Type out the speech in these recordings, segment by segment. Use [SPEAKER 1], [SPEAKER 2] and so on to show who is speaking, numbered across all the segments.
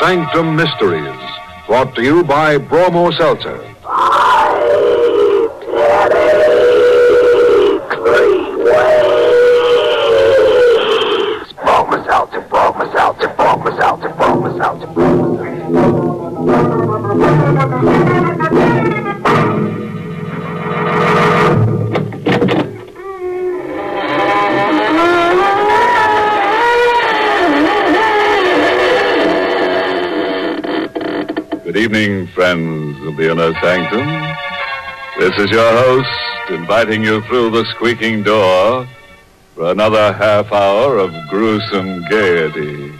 [SPEAKER 1] Sanctum Mysteries, brought to you by Bromo Seltzer.
[SPEAKER 2] Broke myself to broke myself to broke myself to broke myself to broke myself.
[SPEAKER 3] Good evening, friends of the inner sanctum. This is your host inviting you through the squeaking door for another half hour of gruesome gaiety.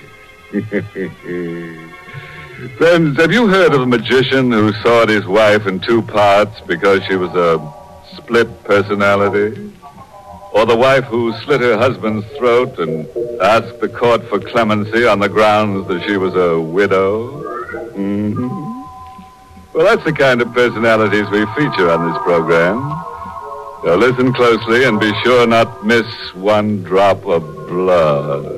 [SPEAKER 3] friends, have you heard of a magician who sawed his wife in two parts because she was a split personality? Or the wife who slit her husband's throat and asked the court for clemency on the grounds that she was a widow? hmm Well, that's the kind of personalities we feature on this program. Now listen closely and be sure not miss one drop of blood.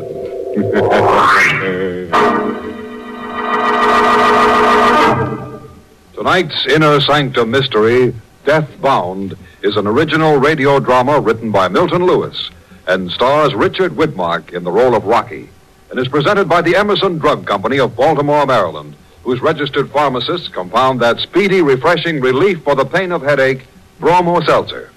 [SPEAKER 1] Tonight's Inner Sanctum Mystery, Death Bound, is an original radio drama written by Milton Lewis and stars Richard Widmark in the role of Rocky and is presented by the Emerson Drug Company of Baltimore, Maryland, whose registered pharmacists compound that speedy, refreshing relief for the pain of headache, Bromo Seltzer.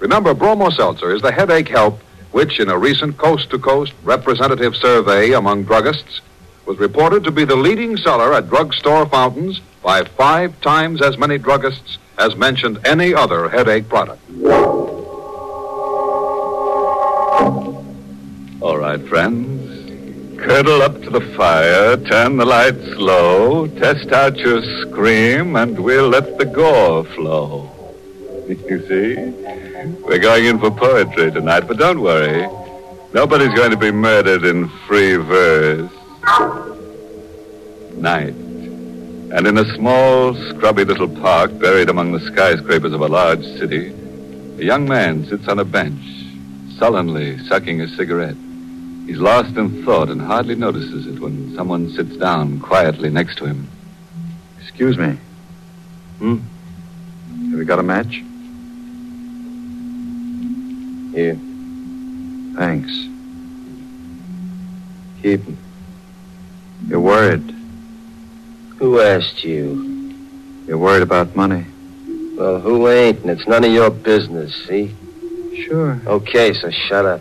[SPEAKER 1] Remember, Bromo Seltzer is the headache help which, in a recent coast to coast representative survey among druggists, was reported to be the leading seller at drugstore fountains by five times as many druggists as mentioned any other headache product.
[SPEAKER 3] All right, friends. Curdle up to the fire, turn the lights low, test out your scream, and we'll let the gore flow. You see? We're going in for poetry tonight, but don't worry. Nobody's going to be murdered in free verse. Night. And in a small, scrubby little park buried among the skyscrapers of a large city, a young man sits on a bench, sullenly sucking a cigarette. He's lost in thought and hardly notices it when someone sits down quietly next to him.
[SPEAKER 4] Excuse me.
[SPEAKER 3] Hmm?
[SPEAKER 4] Have you got a match?
[SPEAKER 5] Here.
[SPEAKER 4] Thanks.
[SPEAKER 5] Keep him.
[SPEAKER 4] You're worried.
[SPEAKER 5] Who asked you?
[SPEAKER 4] You're worried about money.
[SPEAKER 5] Well, who ain't? And it's none of your business, see?
[SPEAKER 4] Sure.
[SPEAKER 5] Okay, so shut up.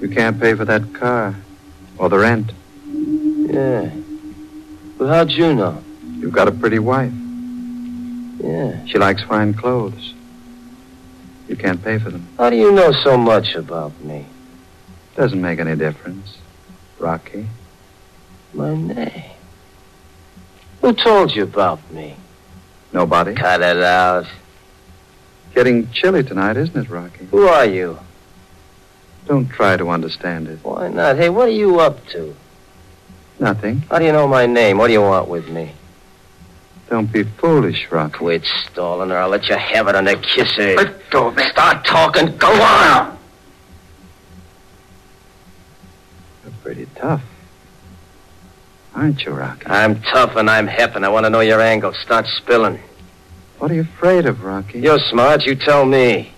[SPEAKER 4] You can't pay for that car or the rent.
[SPEAKER 5] Yeah. Well, how'd you know?
[SPEAKER 4] You've got a pretty wife.
[SPEAKER 5] Yeah.
[SPEAKER 4] She likes fine clothes. You can't pay for them.
[SPEAKER 5] How do you know so much about me?
[SPEAKER 4] Doesn't make any difference. Rocky.
[SPEAKER 5] My name. Who told you about me?
[SPEAKER 4] Nobody.
[SPEAKER 5] Cut it out.
[SPEAKER 4] Getting chilly tonight, isn't it, Rocky?
[SPEAKER 5] Who are you?
[SPEAKER 4] Don't try to understand it.
[SPEAKER 5] Why not? Hey, what are you up to?
[SPEAKER 4] Nothing.
[SPEAKER 5] How do you know my name? What do you want with me?
[SPEAKER 4] Don't be foolish, Rocky.
[SPEAKER 5] Quit stalling or I'll let you have it on the kisser. Let go of Start talking. Go on.
[SPEAKER 4] You're pretty tough. Aren't you, Rocky?
[SPEAKER 5] I'm tough and I'm hep and I want to know your angle. Start spilling.
[SPEAKER 4] What are you afraid of, Rocky?
[SPEAKER 5] You're smart. You tell me.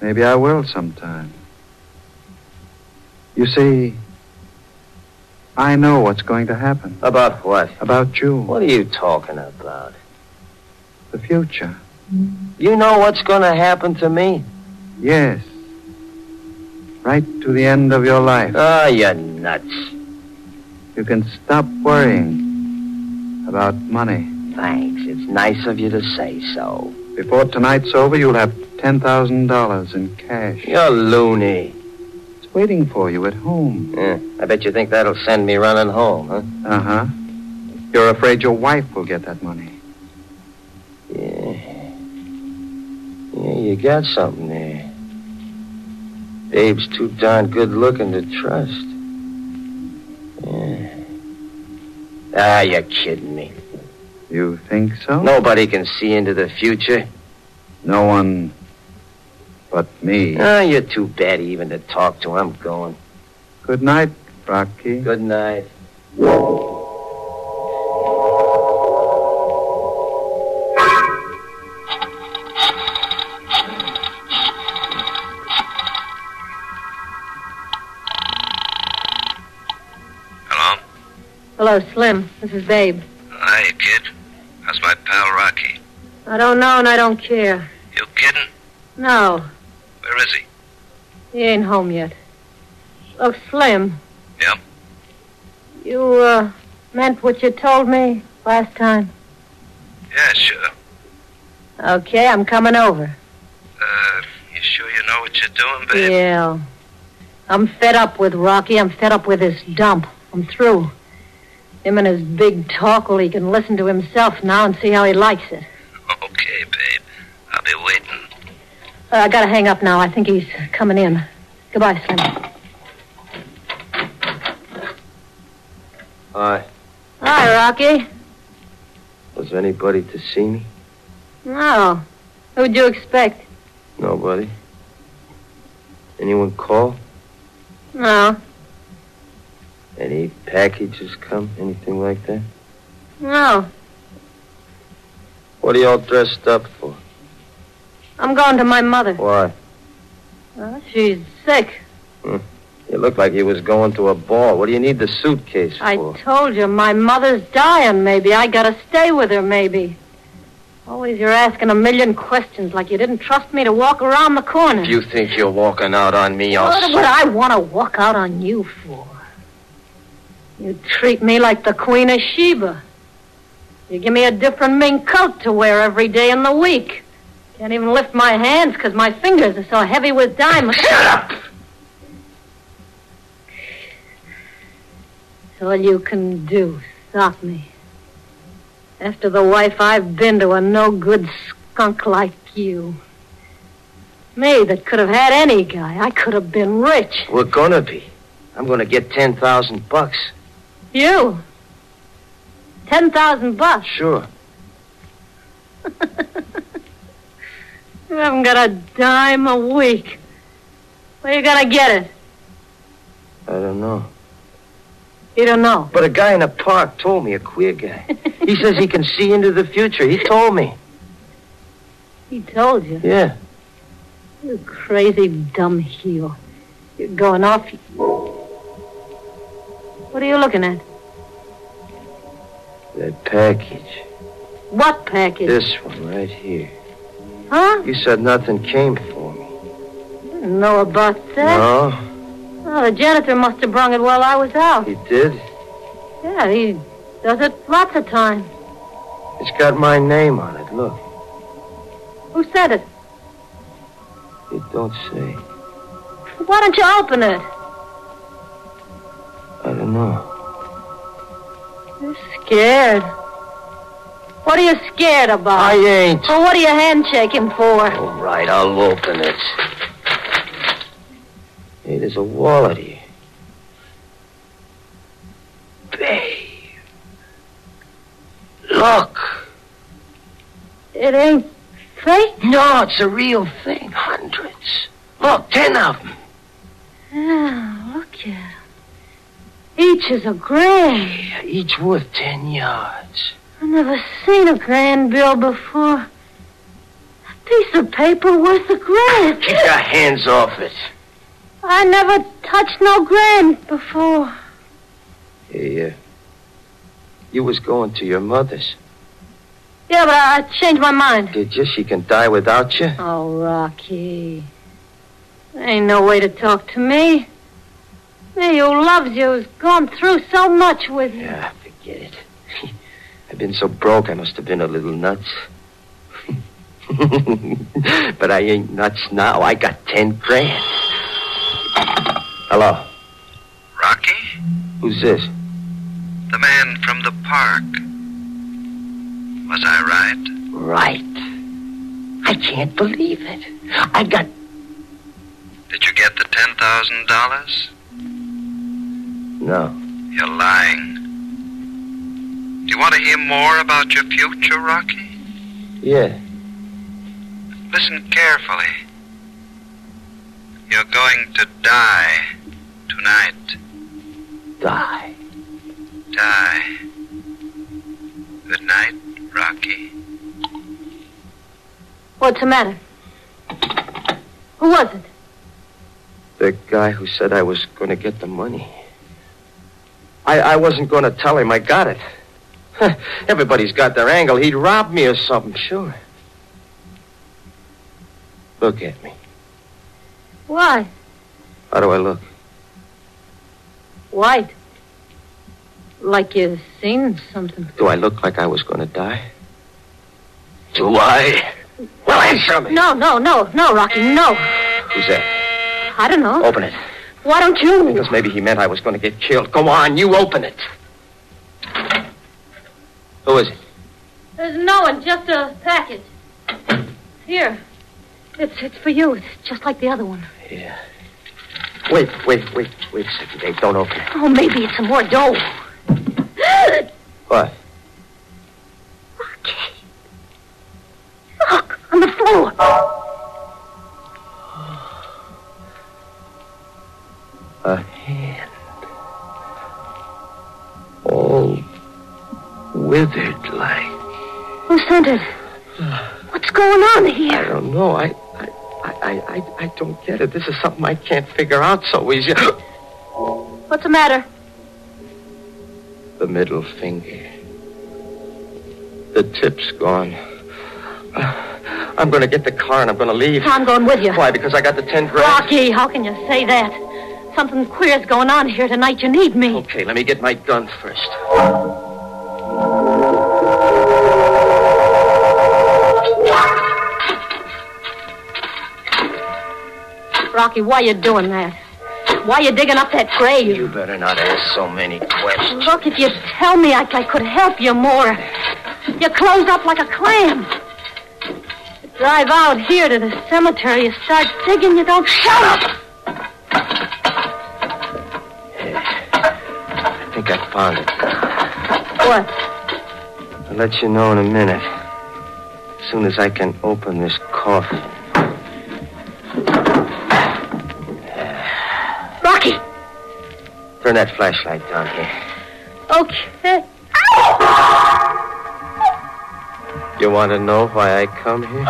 [SPEAKER 4] Maybe I will sometime. You see, I know what's going to happen
[SPEAKER 5] About what?
[SPEAKER 4] about you,
[SPEAKER 5] What are you talking about?
[SPEAKER 4] the future.
[SPEAKER 5] You know what's going to happen to me?
[SPEAKER 4] Yes. Right to the end of your life.
[SPEAKER 5] Ah, you nuts.
[SPEAKER 4] You can stop worrying about money.
[SPEAKER 5] Thanks. It's nice of you to say so.
[SPEAKER 4] Before tonight's over, you'll have $10,000 in cash.
[SPEAKER 5] You're loony.
[SPEAKER 4] It's waiting for you at home.
[SPEAKER 5] Yeah. I bet you think that'll send me running home, huh?
[SPEAKER 4] Uh huh. You're afraid your wife will get that money.
[SPEAKER 5] Yeah. Yeah, you got something there. Babe's too darn good looking to trust. Yeah. Ah, you're kidding me.
[SPEAKER 4] You think so?
[SPEAKER 5] Nobody can see into the future.
[SPEAKER 4] No one but me.
[SPEAKER 5] Ah, you're too bad even to talk to. I'm going.
[SPEAKER 4] Good night, Rocky.
[SPEAKER 5] Good night.
[SPEAKER 6] Hello, Slim. This is Babe.
[SPEAKER 7] Hey, kid. How's my pal Rocky?
[SPEAKER 6] I don't know and I don't care.
[SPEAKER 7] You kidding?
[SPEAKER 6] No,
[SPEAKER 7] Where is he?
[SPEAKER 6] he ain't home yet. Look, Slim.
[SPEAKER 7] Yeah?
[SPEAKER 6] You, uh, meant what you told me last time?
[SPEAKER 7] Yeah, sure.
[SPEAKER 6] Okay, I'm coming over.
[SPEAKER 7] Uh, you sure you know what you're doing, babe?
[SPEAKER 6] Yeah. I'm fed up with Rocky. I'm fed up with his dump. I'm through. Him and his big talk, well, he can listen to himself now and see how he likes it.
[SPEAKER 7] Okay, babe. I'll be waiting.
[SPEAKER 6] Uh, I gotta hang up now. I think he's coming in. Goodbye, Slim.
[SPEAKER 5] Hi.
[SPEAKER 6] Hi,
[SPEAKER 5] Ah,
[SPEAKER 6] Rocky.
[SPEAKER 5] Was anybody to see me?
[SPEAKER 6] No. Who'd you expect?
[SPEAKER 5] Nobody. Anyone call?
[SPEAKER 6] No.
[SPEAKER 5] Any packages come? Anything like that?
[SPEAKER 6] No.
[SPEAKER 5] What are y'all dressed up for?
[SPEAKER 6] I'm going to my mother.
[SPEAKER 5] Why?
[SPEAKER 6] Well, she's sick.
[SPEAKER 5] You look like you was going to a ball. What do you need the suitcase
[SPEAKER 6] I
[SPEAKER 5] for?
[SPEAKER 6] told you, my mother's dying, maybe. I gotta stay with her, maybe. Always you're asking a million questions like you didn't trust me to walk around the corner.
[SPEAKER 5] If you think you're walking out on me, I'll.
[SPEAKER 6] What would I want to walk out on you for? You treat me like the Queen of Sheba. You give me a different mink coat to wear every day in the week. Can't even lift my hands because my fingers are so heavy with diamonds. Shut up! It's all you can do. Stop me. After the wife I've been to, a no good skunk like you. Me that could have had any guy. I could have been rich.
[SPEAKER 5] We're gonna be. I'm gonna get ten thousand bucks.
[SPEAKER 6] You? Ten thousand bucks.
[SPEAKER 5] Sure.
[SPEAKER 6] You haven't got a dime a week. Where you gonna get it?
[SPEAKER 5] I don't know.
[SPEAKER 6] You don't know.
[SPEAKER 5] But a guy in a park told me, a queer guy. He says he can see into the future. He told me.
[SPEAKER 6] He told you.
[SPEAKER 5] Yeah.
[SPEAKER 6] You crazy dumb heel. You're going off. What are you looking at?
[SPEAKER 5] That package.
[SPEAKER 6] What package?
[SPEAKER 5] This one right here.
[SPEAKER 6] Huh?
[SPEAKER 5] You said nothing came for me.
[SPEAKER 6] Didn't know about that.
[SPEAKER 5] No,
[SPEAKER 6] Oh, the janitor must have brung it while I was out.
[SPEAKER 5] he did.
[SPEAKER 6] Yeah, he does it lots of times.
[SPEAKER 5] It's got my name on it. Look,
[SPEAKER 6] Who said it?
[SPEAKER 5] it don't say.
[SPEAKER 6] Why don't you open it?
[SPEAKER 5] I don't know.
[SPEAKER 6] You're scared. What are you scared about?
[SPEAKER 5] I ain't.
[SPEAKER 6] Well, what are you handshaking for?
[SPEAKER 5] All right, I'll open it. Hey, there's a wallet here. Babe. Look.
[SPEAKER 6] It ain't fake.
[SPEAKER 5] No, it's a real thing. Hundreds. Look, ten of them.
[SPEAKER 6] Yeah, Ah, look at 'em. Each is a grand.
[SPEAKER 5] Yeah, each worth ten yards.
[SPEAKER 6] I've never seen a grand bill before. A piece of paper worth a grand.
[SPEAKER 5] Keep your hands off it.
[SPEAKER 6] I never touched no grand before.
[SPEAKER 5] Hey, uh, you was going to your mother's.
[SPEAKER 6] Yeah, but I, I changed my mind.
[SPEAKER 5] Did you? She can die without you.
[SPEAKER 6] Oh, Rocky. Ain't no way to talk to me. Me who loves you has gone through so much with you.
[SPEAKER 5] Yeah, forget it. I've been so broke, I must have been a little nuts. but I ain't nuts now. I got ten grand. Hello,
[SPEAKER 7] Rocky?
[SPEAKER 5] who's this?
[SPEAKER 7] The man from the park. Was I right?
[SPEAKER 5] Right. I can't believe it. I got.
[SPEAKER 7] Did you get the $10,000?
[SPEAKER 5] No.
[SPEAKER 7] You're lying. Do you want to hear more about your future, Rocky?
[SPEAKER 5] Yeah,
[SPEAKER 7] Listen carefully. You're going to die tonight.
[SPEAKER 5] die.
[SPEAKER 7] Die. Good night, Rocky.
[SPEAKER 6] What's the matter? Who was it?
[SPEAKER 5] The guy who said I was going to get the money. I, I wasn't going to tell him I got it. Huh, Everybody's got their angle. He'd rob me or something, sure. Look at me.
[SPEAKER 6] Why?
[SPEAKER 5] How do I look?
[SPEAKER 6] White. Like you've seen something.
[SPEAKER 5] Do I look like I was going to die? Do I? Well, answer me.
[SPEAKER 6] No, no, no, no, Rocky, no.
[SPEAKER 5] Who's that?
[SPEAKER 6] I don't know.
[SPEAKER 5] Open it.
[SPEAKER 6] Why don't you?
[SPEAKER 5] Because maybe he meant I was going to get killed. Go on, you open it. Who is it?
[SPEAKER 6] There's no one, just a package. Here. It's, it's for you. It's just like the other one.
[SPEAKER 5] Yeah. Wait, wait, wait, wait a second, Dave. Don't open it.
[SPEAKER 6] Oh, maybe it's some more dough.
[SPEAKER 5] What?
[SPEAKER 6] Rocky. Look, on the floor.
[SPEAKER 5] A hand. All withered like.
[SPEAKER 6] Who sent it? Oh, What's going on
[SPEAKER 5] I
[SPEAKER 6] here?
[SPEAKER 5] don't know. I, I, I, I, I, I don't get it. This is something I can't figure out so easy.
[SPEAKER 6] What's the matter?
[SPEAKER 5] the middle finger. The tip's gone. I'm going to get the car and I'm going to leave.
[SPEAKER 6] I'm going with you.
[SPEAKER 5] Why? Because I got the ten grand.
[SPEAKER 6] Rocky, how can you say that? Something queer's going on here tonight. You need me.
[SPEAKER 5] Okay, let me get my gun first.
[SPEAKER 6] Rocky, why you doing that? Why you digging up that grave?
[SPEAKER 5] You better not ask so many questions.
[SPEAKER 6] Look, if you tell me, I, I could help you more. You're closed up like a clam. Drive out here to the cemetery. You start digging, you don't shut up.
[SPEAKER 5] I think I found it.
[SPEAKER 6] What?
[SPEAKER 5] I'll let you know in a minute. As soon as I can open this coffin.
[SPEAKER 6] Rocky.
[SPEAKER 5] Turn that flashlight down here.
[SPEAKER 6] Okay.
[SPEAKER 5] You want to know why I come here?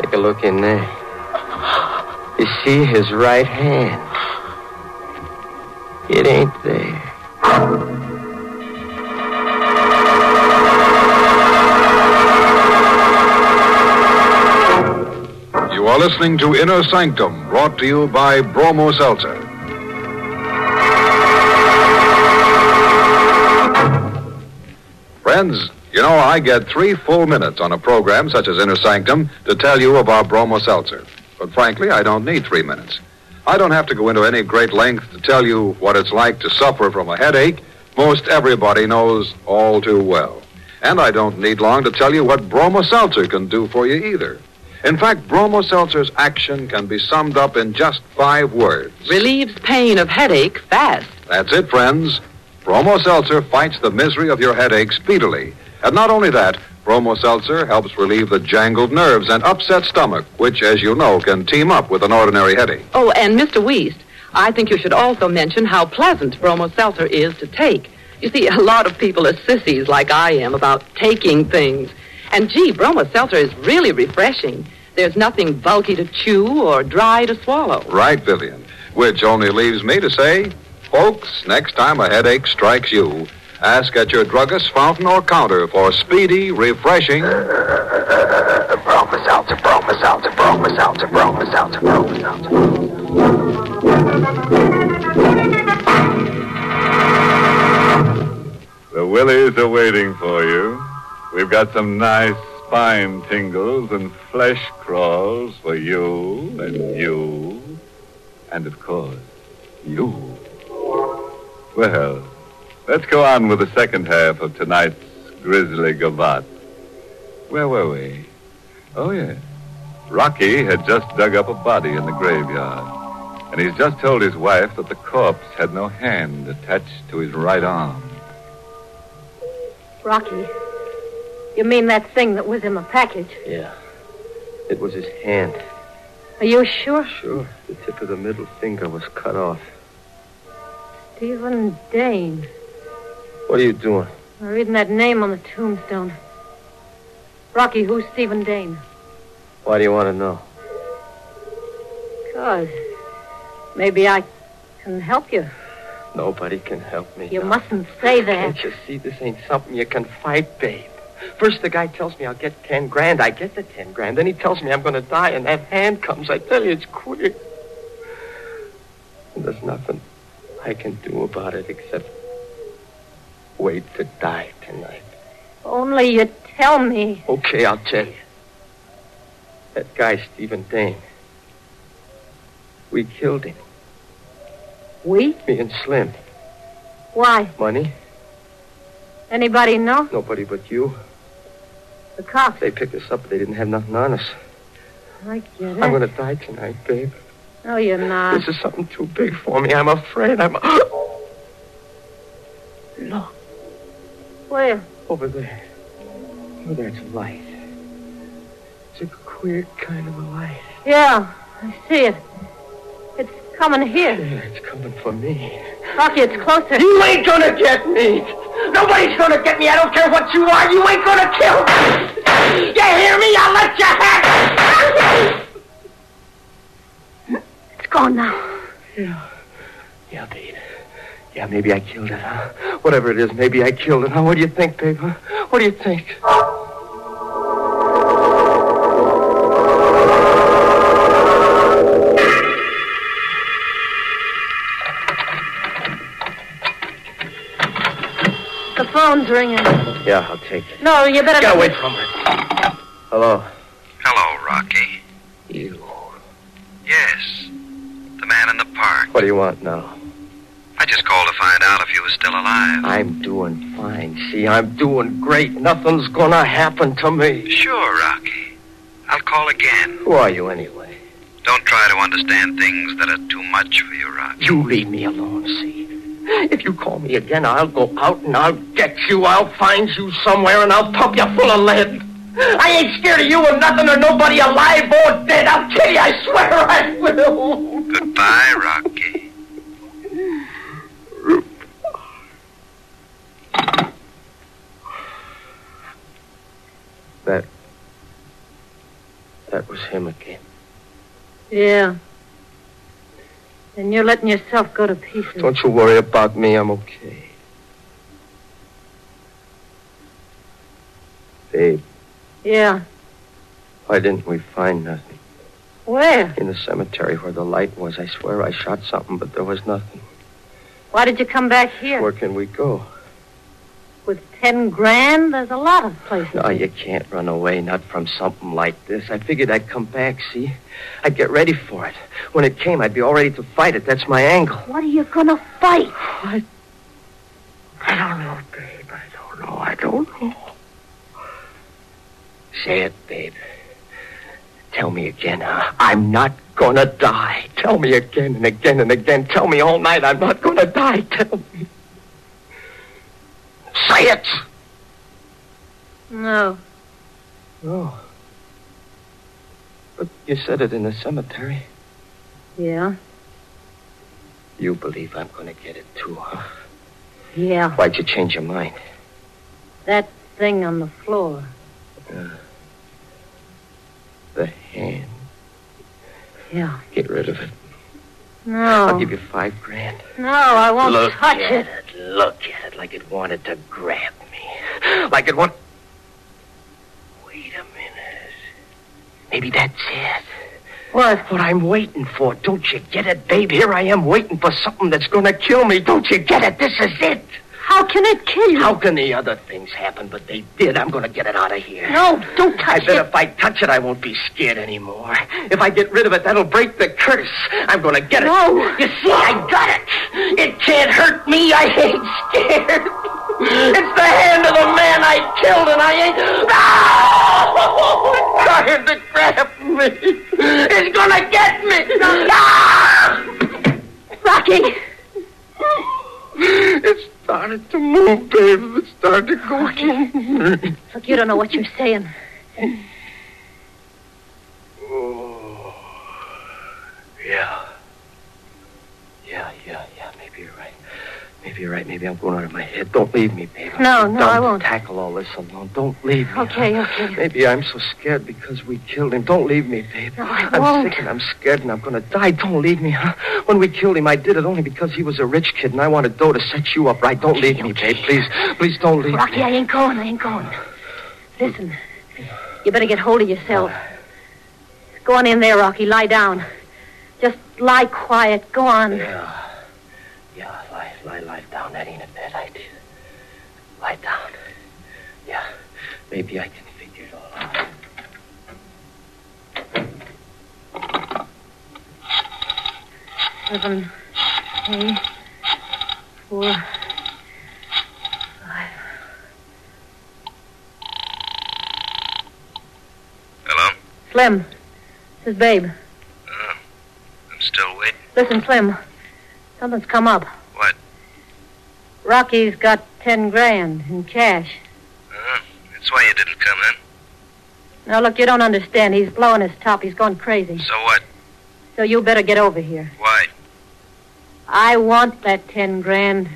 [SPEAKER 5] Take a look in there. You see his right hand. It ain't there.
[SPEAKER 3] You are listening to Inner Sanctum, brought to you by Bromo Seltzer. Friends, you know, I get three full minutes on a program such as Inner Sanctum to tell you about Bromo Seltzer. But frankly, I don't need three minutes. I don't have to go into any great length to tell you what it's like to suffer from a headache. Most everybody knows all too well. And I don't need long to tell you what Bromo Seltzer can do for you either. In fact, Bromo Seltzer's action can be summed up in just five words.
[SPEAKER 8] Relieves pain of headache fast.
[SPEAKER 3] That's it, friends. Bromo Seltzer fights the misery of your headache speedily. And not only that, Bromo Seltzer helps relieve the jangled nerves and upset stomach, which, as you know, can team up with an ordinary headache.
[SPEAKER 8] Oh, and Mr. Wiest, I think you should also mention how pleasant Bromo Seltzer is to take. You see, a lot of people are sissies like I am about taking things. And gee, Bromo Seltzer is really refreshing. There's nothing bulky to chew or dry to swallow.
[SPEAKER 3] Right, Vivian. Which only leaves me to say, folks, next time a headache strikes you, ask at your druggist's fountain or counter for speedy, refreshing.
[SPEAKER 2] Bromus out to Bromus out to Bromus out to Bromus out to Bromus out to
[SPEAKER 9] The willies are waiting for you. We've got some nice spine tingles and flesh crawls for you and you. And of course, you. Well, let's go on with the second half of tonight's grisly gavotte. Where were we? Oh, yeah. Rocky had just dug up a body in the graveyard. And he's just told his wife that the corpse had no hand attached to his right arm.
[SPEAKER 6] Rocky. You mean that thing that was in the package?
[SPEAKER 5] Yeah. It was his hand.
[SPEAKER 6] Are you sure?
[SPEAKER 5] Sure. The tip of the middle finger was cut off.
[SPEAKER 6] Stephen Dane.
[SPEAKER 5] What are you doing?
[SPEAKER 6] I'm reading that name on the tombstone. Rocky, who's Stephen Dane?
[SPEAKER 5] Why do you want to know?
[SPEAKER 6] Because maybe I can help you.
[SPEAKER 5] Nobody can help me.
[SPEAKER 6] You
[SPEAKER 5] now.
[SPEAKER 6] mustn't say that.
[SPEAKER 5] Can't you see this ain't something you can fight, babe? First the guy tells me I'll get ten grand. I get the ten grand. Then he tells me I'm going to die, and that hand comes. I tell you, it's queer. And there's nothing I can do about it except wait to die tonight.
[SPEAKER 6] Only you tell me.
[SPEAKER 5] Okay, I'll tell you. That guy, Stephen Dane. We killed him.
[SPEAKER 6] We?
[SPEAKER 5] Me and Slim.
[SPEAKER 6] Why?
[SPEAKER 5] Money.
[SPEAKER 6] Anybody know?
[SPEAKER 5] Nobody but you.
[SPEAKER 6] The cops.
[SPEAKER 5] They picked us up. They didn't have nothing on us.
[SPEAKER 6] I get it.
[SPEAKER 5] I'm going to die tonight, babe.
[SPEAKER 6] No, you're not.
[SPEAKER 5] This is something too big for me. I'm afraid. I'm. Look
[SPEAKER 6] Where?
[SPEAKER 5] over there. Oh, there's light. It's a queer kind of a light.
[SPEAKER 6] Yeah, I see it. It's coming here.
[SPEAKER 5] Yeah, it's coming for me.
[SPEAKER 6] Rocky, it's closer.
[SPEAKER 5] You ain't gonna get me. Nobody's gonna get me. I don't care what you are. You ain't gonna kill me. You hear me? I'll let you have it.
[SPEAKER 6] It's gone now.
[SPEAKER 5] Yeah. Yeah, babe. Yeah, maybe I killed it, huh? Whatever it is, maybe I killed it, huh? What do you think, babe? Huh? What do you think?
[SPEAKER 6] The phone's ringing.
[SPEAKER 5] Yeah, I'll take it.
[SPEAKER 6] No, you better.
[SPEAKER 5] Get away from her. Hello.
[SPEAKER 7] Hello, Rocky.
[SPEAKER 5] You.
[SPEAKER 7] Yes. The man in the park.
[SPEAKER 5] What do you want now?
[SPEAKER 7] I just called to find out if you were still alive.
[SPEAKER 5] I'm doing fine. See, I'm doing great. Nothing's gonna happen to me.
[SPEAKER 7] Sure, Rocky. I'll call again.
[SPEAKER 5] Who are you anyway?
[SPEAKER 7] Don't try to understand things that are too much for you, Rocky.
[SPEAKER 5] You leave me alone, see? If you call me again, I'll go out and I'll get you. I'll find you somewhere and I'll pump you full of lead. I ain't scared of you or nothing or nobody alive or dead. I'll kill you, I swear I will.
[SPEAKER 7] Goodbye, Rocky.
[SPEAKER 5] That. That was him again.
[SPEAKER 6] Yeah. And you're letting yourself go to pieces.
[SPEAKER 5] Don't you worry about me. I'm okay. Babe,
[SPEAKER 6] Yeah.
[SPEAKER 5] why didn't we find nothing?
[SPEAKER 6] Where?
[SPEAKER 5] In the cemetery where the light was, I swear I shot something, but there was nothing.
[SPEAKER 6] Why did you come back here?
[SPEAKER 5] Where can we go?
[SPEAKER 6] With ten grand, there's a lot of places.
[SPEAKER 5] No, Oh, you can't run away, not from something like this. I figured I'd come back, see? I'd get ready for it. When it came, I'd be all ready to fight it. That's my angle.
[SPEAKER 6] What are you gonna fight?
[SPEAKER 5] I, I don't know, babe. I don't know. I don't know. Say it, babe. Tell me again, huh? I'm not gonna die. Tell me again and again and again. Tell me all night I'm not gonna die. Tell me. Say it!
[SPEAKER 6] No.
[SPEAKER 5] No. But Oh. you said it in the cemetery.
[SPEAKER 6] Yeah.
[SPEAKER 5] You believe I'm gonna get it too, huh?
[SPEAKER 6] Yeah.
[SPEAKER 5] Why'd you change your mind?
[SPEAKER 6] That thing on the floor.
[SPEAKER 5] The hand.
[SPEAKER 6] Yeah.
[SPEAKER 5] Get rid of it.
[SPEAKER 6] No.
[SPEAKER 5] I'll give you five grand.
[SPEAKER 6] No, I won't
[SPEAKER 5] look
[SPEAKER 6] touch
[SPEAKER 5] at
[SPEAKER 6] it.
[SPEAKER 5] Look at it like it wanted to grab me. Like it want. Wait a minute. Maybe that's it.
[SPEAKER 6] What?
[SPEAKER 5] What I'm waiting for. Don't you get it, babe? Here I am waiting for something that's gonna kill me. Don't you get it? This is it.
[SPEAKER 6] How can it kill you?
[SPEAKER 5] How can the other things happen? But they did. I'm gonna get it out of here.
[SPEAKER 6] No, don't
[SPEAKER 5] I
[SPEAKER 6] touch
[SPEAKER 5] bet
[SPEAKER 6] it.
[SPEAKER 5] if I touch it, I won't be scared anymore. If I get rid of it, that'll break the curse. I'm gonna get it.
[SPEAKER 6] No.
[SPEAKER 5] You see, I got it. It can't hurt me. I ain't scared. It's the hand of the man I killed, and I ain't. No! Trying to grab me. It's gonna get me. Ah!
[SPEAKER 6] Rocky!
[SPEAKER 5] It started to move, babe. It started to go. in me.
[SPEAKER 6] Look, you don't know what you're saying.
[SPEAKER 5] Oh, yeah. Yeah, yeah, yeah. Maybe you're right. Maybe Maybe you're right. Maybe I'm going out of my head. Don't leave me, baby.
[SPEAKER 6] No,
[SPEAKER 5] I'm
[SPEAKER 6] no,
[SPEAKER 5] done
[SPEAKER 6] I
[SPEAKER 5] to
[SPEAKER 6] won't.
[SPEAKER 5] Tackle all this alone. Don't leave me.
[SPEAKER 6] Okay, okay.
[SPEAKER 5] Maybe I'm so scared because we killed him. Don't leave me, babe.
[SPEAKER 6] No, I
[SPEAKER 5] am
[SPEAKER 6] won't.
[SPEAKER 5] sick and I'm scared and I'm going to die. Don't leave me, huh? When we killed him, I did it only because he was a rich kid and I wanted dough to set you up right. Don't leave me, babe. Please, please don't leave
[SPEAKER 6] Rocky,
[SPEAKER 5] me.
[SPEAKER 6] I ain't going. I ain't going. Listen, you better get hold of yourself. Go on in there, Rocky. Lie down. Just lie quiet. Go on.
[SPEAKER 5] Yeah. Yeah, lie, lie, lie down. That ain't a bad idea. Lie down. Yeah, maybe I can figure it all out.
[SPEAKER 6] Seven, eight, four, five.
[SPEAKER 7] Hello?
[SPEAKER 6] Slim, this is Babe.
[SPEAKER 7] I'm still waiting.
[SPEAKER 6] Listen, Slim, something's come up.
[SPEAKER 7] What?
[SPEAKER 6] Rocky's got ten grand in cash.
[SPEAKER 7] Uh, that's why you didn't come in.
[SPEAKER 6] Now, look, you don't understand. He's blowing his top. He's going crazy.
[SPEAKER 7] So what?
[SPEAKER 6] So you better get over here.
[SPEAKER 7] Why?
[SPEAKER 6] I want that ten grand.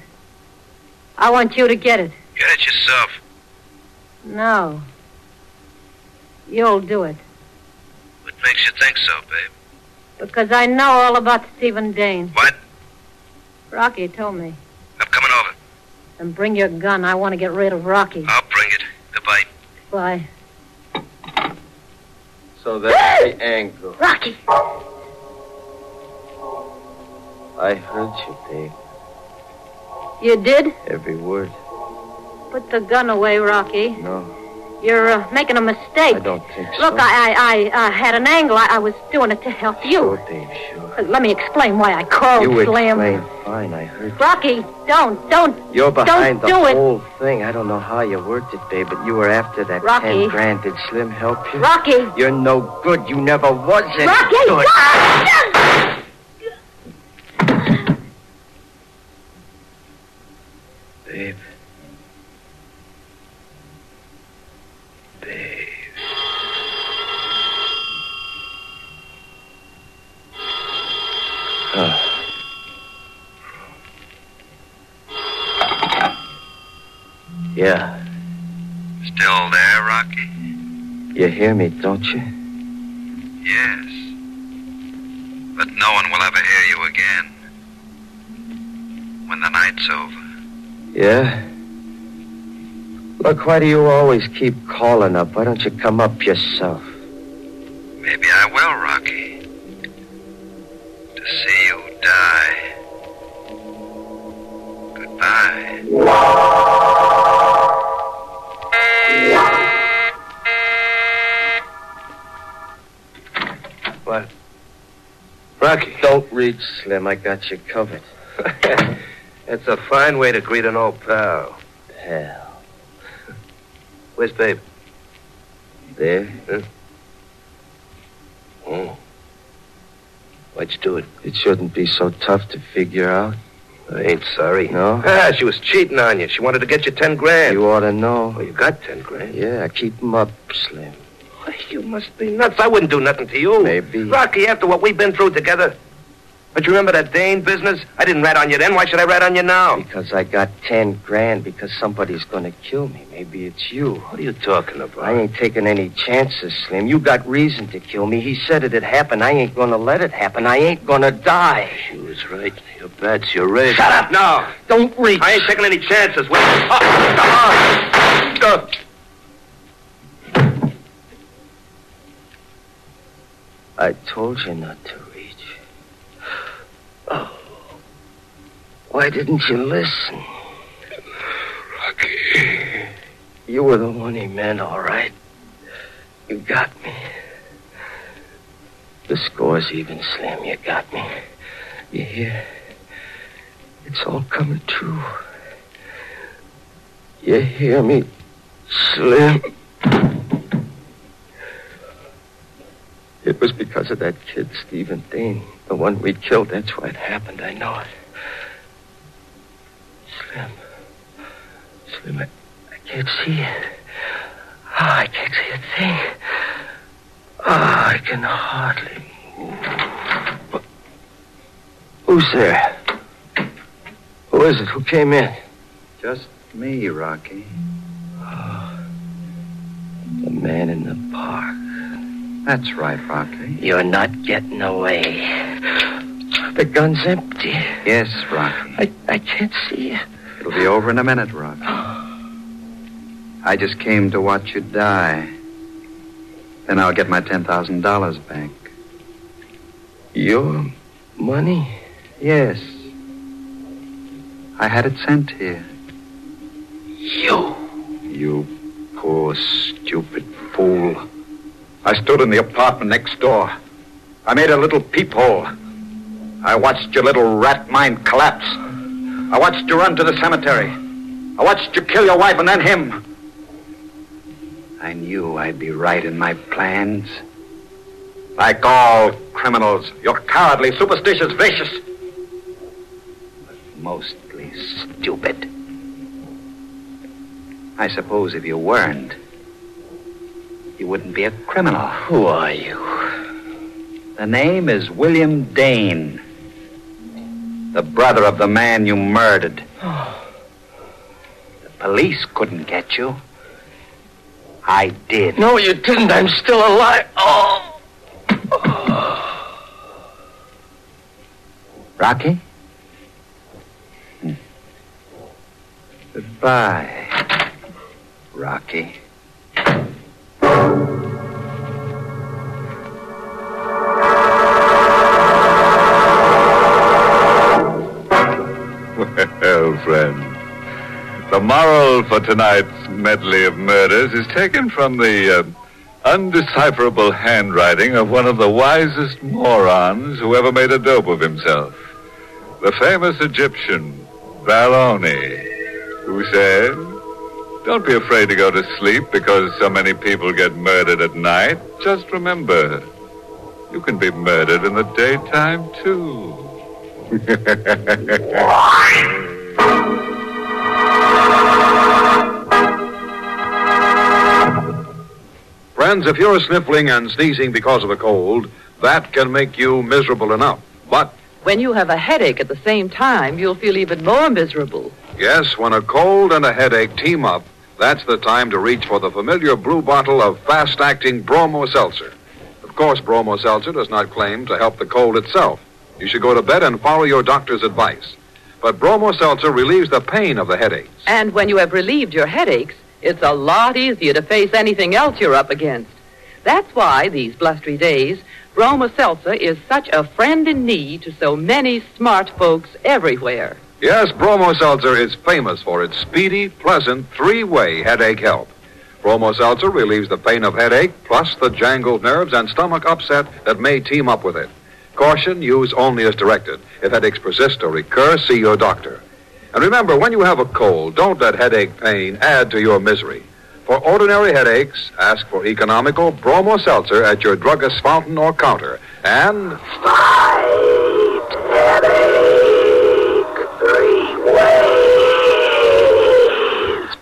[SPEAKER 6] I want you to get it.
[SPEAKER 7] Get it yourself.
[SPEAKER 6] No. You'll do it.
[SPEAKER 7] What makes you think so, babe?
[SPEAKER 6] Because I know all about Stephen Dane.
[SPEAKER 7] What?
[SPEAKER 6] Rocky told me.
[SPEAKER 7] I'm coming over. Uh.
[SPEAKER 6] And bring your gun. I want to get rid of Rocky.
[SPEAKER 7] I'll bring it. Goodbye.
[SPEAKER 6] Why?
[SPEAKER 5] So that's the angle.
[SPEAKER 6] Rocky!
[SPEAKER 5] I heard you, babe.
[SPEAKER 6] You did?
[SPEAKER 5] Every word.
[SPEAKER 6] Put the gun away, Rocky.
[SPEAKER 5] No,
[SPEAKER 6] You're uh, making a mistake.
[SPEAKER 5] I don't think so.
[SPEAKER 6] Look, I, I, I uh, had an angle. I, I was doing it to help you.
[SPEAKER 5] Sure, babe, sure.
[SPEAKER 6] Uh, Let me explain why I called
[SPEAKER 5] you
[SPEAKER 6] Slim.
[SPEAKER 5] explained fine. I heard
[SPEAKER 6] Rocky, don't, don't.
[SPEAKER 5] You're behind
[SPEAKER 6] Don't
[SPEAKER 5] the
[SPEAKER 6] do it.
[SPEAKER 5] whole thing. I don't know how you worked it, babe, but you were after that
[SPEAKER 6] Rocky.
[SPEAKER 5] ten grand. Did Slim help you?
[SPEAKER 6] Rocky!
[SPEAKER 5] You're no good. You never was any
[SPEAKER 6] Rocky!
[SPEAKER 5] good.
[SPEAKER 6] Ah!
[SPEAKER 5] Babe. Babe. Huh. Yeah,
[SPEAKER 7] Still there, Rocky?
[SPEAKER 5] you hear me, don't you?
[SPEAKER 7] Yes. But no one will ever hear you again. When the night's over.
[SPEAKER 5] Yeah? Look, why do you always keep calling up? Why don't you come up yourself?
[SPEAKER 7] Maybe I will, Rocky. To see you die. Goodbye.
[SPEAKER 5] Rocky. Don't reach, Slim. I got you covered.
[SPEAKER 10] That's a fine way to greet an old pal.
[SPEAKER 5] Hell.
[SPEAKER 10] Where's Babe?
[SPEAKER 5] There? Hmm.
[SPEAKER 10] Oh. Why'd you do it?
[SPEAKER 5] It shouldn't be so tough to figure out.
[SPEAKER 10] I ain't sorry.
[SPEAKER 5] No?
[SPEAKER 10] Ah, she was cheating on you. She wanted to get you ten grand.
[SPEAKER 5] You ought to know.
[SPEAKER 10] Oh, you got ten grand?
[SPEAKER 5] Yeah, keep 'em up, Slim.
[SPEAKER 10] Why, You must be nuts. I wouldn't do nothing to you.
[SPEAKER 5] Maybe.
[SPEAKER 10] Rocky, after what we've been through together. But you remember that Dane business? I didn't rat on you then. Why should I rat on you now?
[SPEAKER 5] Because I got ten grand because somebody's gonna kill me. Maybe it's you.
[SPEAKER 10] What are you talking about?
[SPEAKER 5] I ain't taking any chances, Slim. You got reason to kill me. He said it'd happen. I ain't gonna let it happen. I ain't gonna die.
[SPEAKER 10] She was right. Your bats, your rage.
[SPEAKER 5] Shut up
[SPEAKER 10] now.
[SPEAKER 5] Don't reach.
[SPEAKER 10] I ain't taking any chances. Wait. Oh, come on. Uh,
[SPEAKER 5] I told you not to reach. Oh. Why didn't you listen?
[SPEAKER 10] Rocky.
[SPEAKER 5] You were the one he meant, all right. You got me. The score's even, Slim. You got me. You hear? It's all coming true. You hear me, Slim? It was because of that kid, Stephen Dane, the one we killed. That's why it happened. I know it. Slim. Slim, I, I can't see it. Oh, I can't see a thing. Oh, I can hardly move. Who's there? Who Who is it? Who came in?
[SPEAKER 4] Just me, Rocky.
[SPEAKER 5] The man in the park.
[SPEAKER 4] That's right, Rocky.
[SPEAKER 5] You're not getting away. The gun's empty.
[SPEAKER 4] Yes, Rocky.
[SPEAKER 5] I, I can't see it.
[SPEAKER 4] It'll be over in a minute, Rocky. I just came to watch you die. Then I'll get my $10,000 back.
[SPEAKER 5] Your money?
[SPEAKER 4] Yes. I had it sent here.
[SPEAKER 5] You.
[SPEAKER 4] You poor, stupid fool. I stood in the apartment next door. I made a little peephole. I watched your little rat mind collapse. I watched you run to the cemetery. I watched you kill your wife and then him. I knew I'd be right in my plans. Like all criminals, you're cowardly, superstitious, vicious. But mostly stupid. I suppose if you weren't, you wouldn't be a criminal.
[SPEAKER 5] Who are you?
[SPEAKER 4] The name is William Dane, the brother of the man you murdered. The police couldn't get you. I did.
[SPEAKER 5] No, you didn't. I'm still alive. Oh.
[SPEAKER 4] Rocky? Hmm. Goodbye, Rocky.
[SPEAKER 9] Well, friend, the moral for tonight's medley of murders is taken from the uh, undecipherable handwriting of one of the wisest morons who ever made a dope of himself, the famous Egyptian, Baroni, who said, Don't be afraid to go to sleep because so many people get murdered at night. Just remember, you can be murdered in the daytime, too.
[SPEAKER 3] Friends, if you're sniffling and sneezing because of a cold, that can make you miserable enough. But,
[SPEAKER 8] When you have a headache at the same time, you'll feel even more miserable.
[SPEAKER 3] yes, when a cold and a headache team up, that's the time to reach for the familiar blue bottle of fast acting Bromo Seltzer. Of course, Bromo Seltzer does not claim to help the cold itself. You should go to bed and follow your doctor's advice. But Bromo Seltzer relieves the pain of the headache.
[SPEAKER 8] And when you have relieved your headaches, it's a lot easier to face anything else you're up against. That's why, these blustery days, Broma Seltzer is such a friend in need to so many smart folks everywhere.
[SPEAKER 3] Yes, Bromo Seltzer is famous for its speedy, pleasant, three way headache help. Bromo Seltzer relieves the pain of headache, plus the jangled nerves and stomach upset that may team up with it. Caution, use only as directed. If headaches persist or recur, see your doctor. And remember, when you have a cold, don't let headache pain add to your misery. For ordinary headaches, ask for economical Bromo Seltzer at your druggist's fountain or counter. And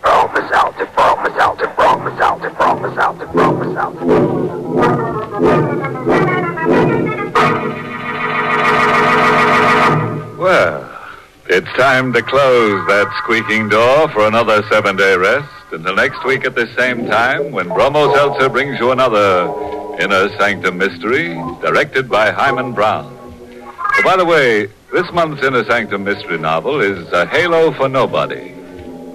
[SPEAKER 2] Promise out to promise out to promise out to promise out to promise out to
[SPEAKER 9] Well, it's time to close that squeaking door for another seven day rest. Until next week at this same time, when Bromo Seltzer brings you another Inner Sanctum Mystery, directed by Hyman Brown. Oh, by the way, this month's Inner Sanctum Mystery novel is A Halo for Nobody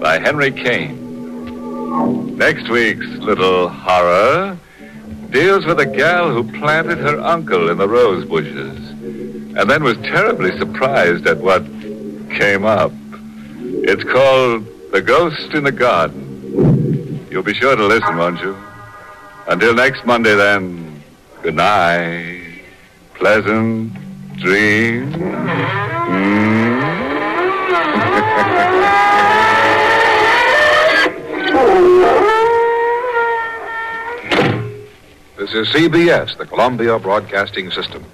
[SPEAKER 9] by Henry Kane. Next week's little horror deals with a gal who planted her uncle in the rose bushes and then was terribly surprised at what came up. It's called The Ghost in the Garden. You'll be sure to listen, won't you? Until next Monday, then, good night. Pleasant dreams.
[SPEAKER 3] this is CBS, the Columbia Broadcasting System.